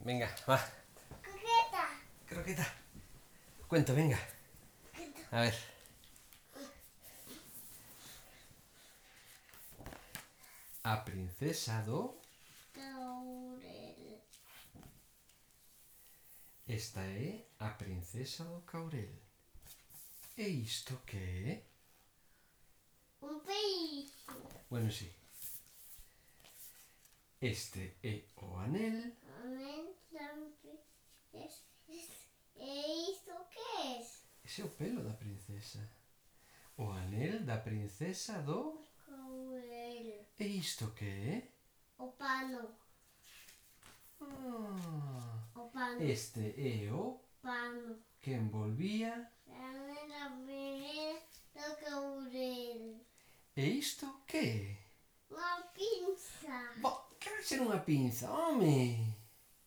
Venga, va. Croqueta. Croqueta. Cuento, venga. A ver. Aprincesado Laurel. esta é a princesa do Caurel. E isto que é? Un peixe. Bueno, sí. Este é o anel. Amén. Lampe. Es- es- E isto que é? Ese é o pelo da princesa. O anel da princesa do... Laurel. E isto que é? O pano. Ah, O pano. este é o Pano. que envolvía Amén. La primera. La caurel. E isto que é? Uma pinça. Bo, que vai ser unha pinza, home?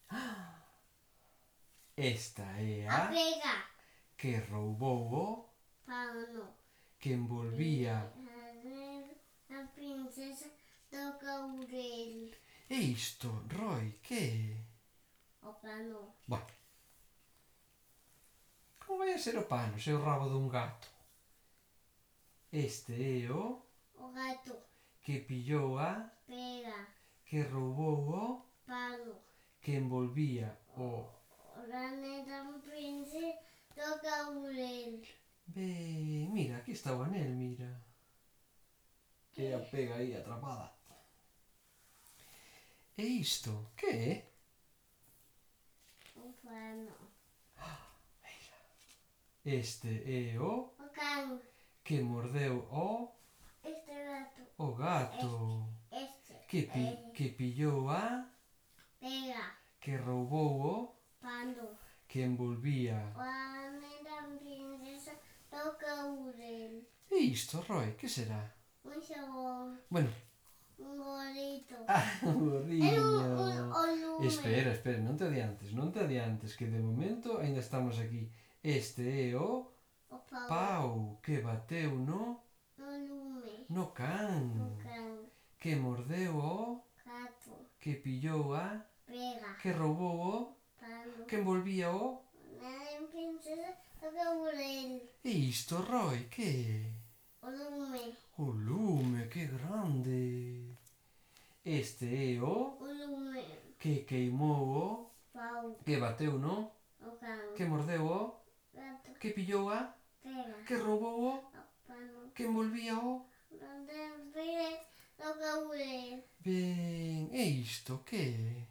Ah. Esta é a A pega. que roubou o Pano. que envolvía. Amén. La princesa do caurel. E isto, Roy, que é? O pano. Bo. Como vai a ser o pano se é o rabo dun gato? Este é o O gato. que pillou a Pega. que roubou o Pano. que envolvía o Rane dan prince toca urel. Ve, mira, aquí está o anel, mira. Eh. Que a pega aí atrapada. E isto, que é? O pano. Este é o O can. que mordeu o, Este gato. o gato. Este. Que, pi, Eh, que pillou a, pega. que roubou o, Pano. que envolvía. Rane dan princesa toca urel. E isto, Roy, que será? Un sabón. Bueno, Un gorrito. ah, É un, un burriño. olume. Espera, espera, non te adiantes, non te adiantes, que de momento aínda estamos aquí. Este é o... O pau. Pau que bateu no, Un olume. no O can can. Que mordeu o Gato. Que pillou a Pega. Que roubou Pano. o Que envolvía o Rane dan princesa toca urel. E isto, Roy, que é? Olume. O lume, que grande Este é o Olume. Que queimou o Pau. Que bateu no O can. Que mordeu o Gato. Que pillou a Pega. Que roubou o Pano. Que envolvía o Donde vive lo caure. Ben, e isto que é?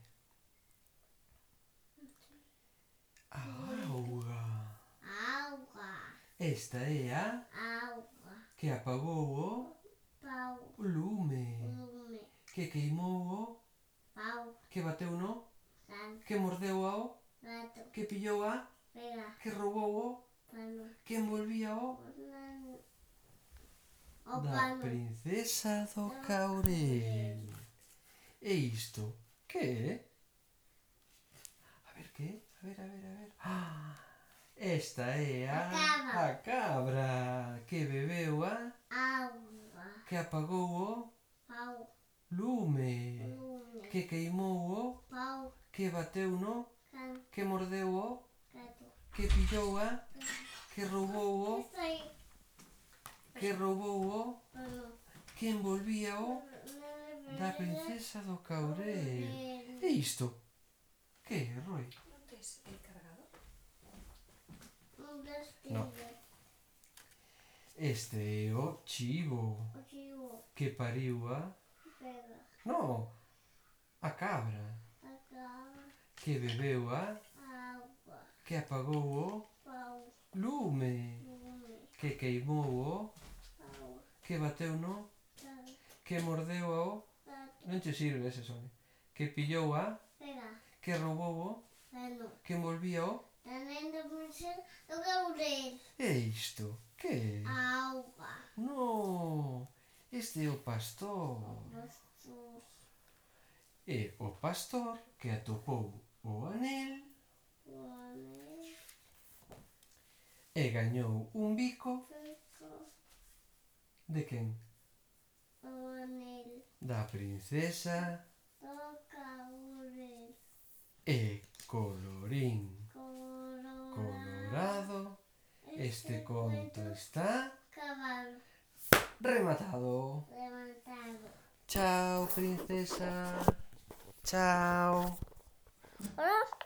A auga Agua. Esta é a Agua. que apagou Pau. o lume, Lume. que queimou o, Pau. que bateu no, Gan. que mordeu ao, Gato. que pillou a, Pega. que roubou o, Pano. que envolvía o Nan- O Ah, da pano. princesa do Caurel. E isto, que é? A ver que é? A ver, a ver, a ver. Ah, esta é a, A cabra. a cabra que bebeu a, Agua. que apagou o Pau. lume. Lume. É. que queimou o, Pau. que bateu no, Gan. que mordeu o, Gato. que pillou a, que roubou o, Estoy. que roubou o, Pano. que envolvía o da Da princesa do Caurel. E isto? Que é, Roy? ¿No te es el cargador? Un No. castillo. Este é o chivo O chivo. que pariu a... Pega. No, a cabra Acá. que bebeu a, Agua. que apagou o Pau. lume, Lume. que queimou o, Pau. que bateu no, Pau. que mordeu o, Gato. non che sirve ese son, que pillou a, Pega. que roubou o, Bueno. que "Oh, envolvía o También de princesa. Lo caurel. e isto que é? Agua. No, este é o pastor Pastor. é o pastor que atopou o anel Guane. e gañou un bico Feco. de quen? Guanel. da princesa Lo caurel. e colorín Colorado. colorado, este cuento conto está acabado. rematado. Levantado. Chao, princesa. Chao. Hola.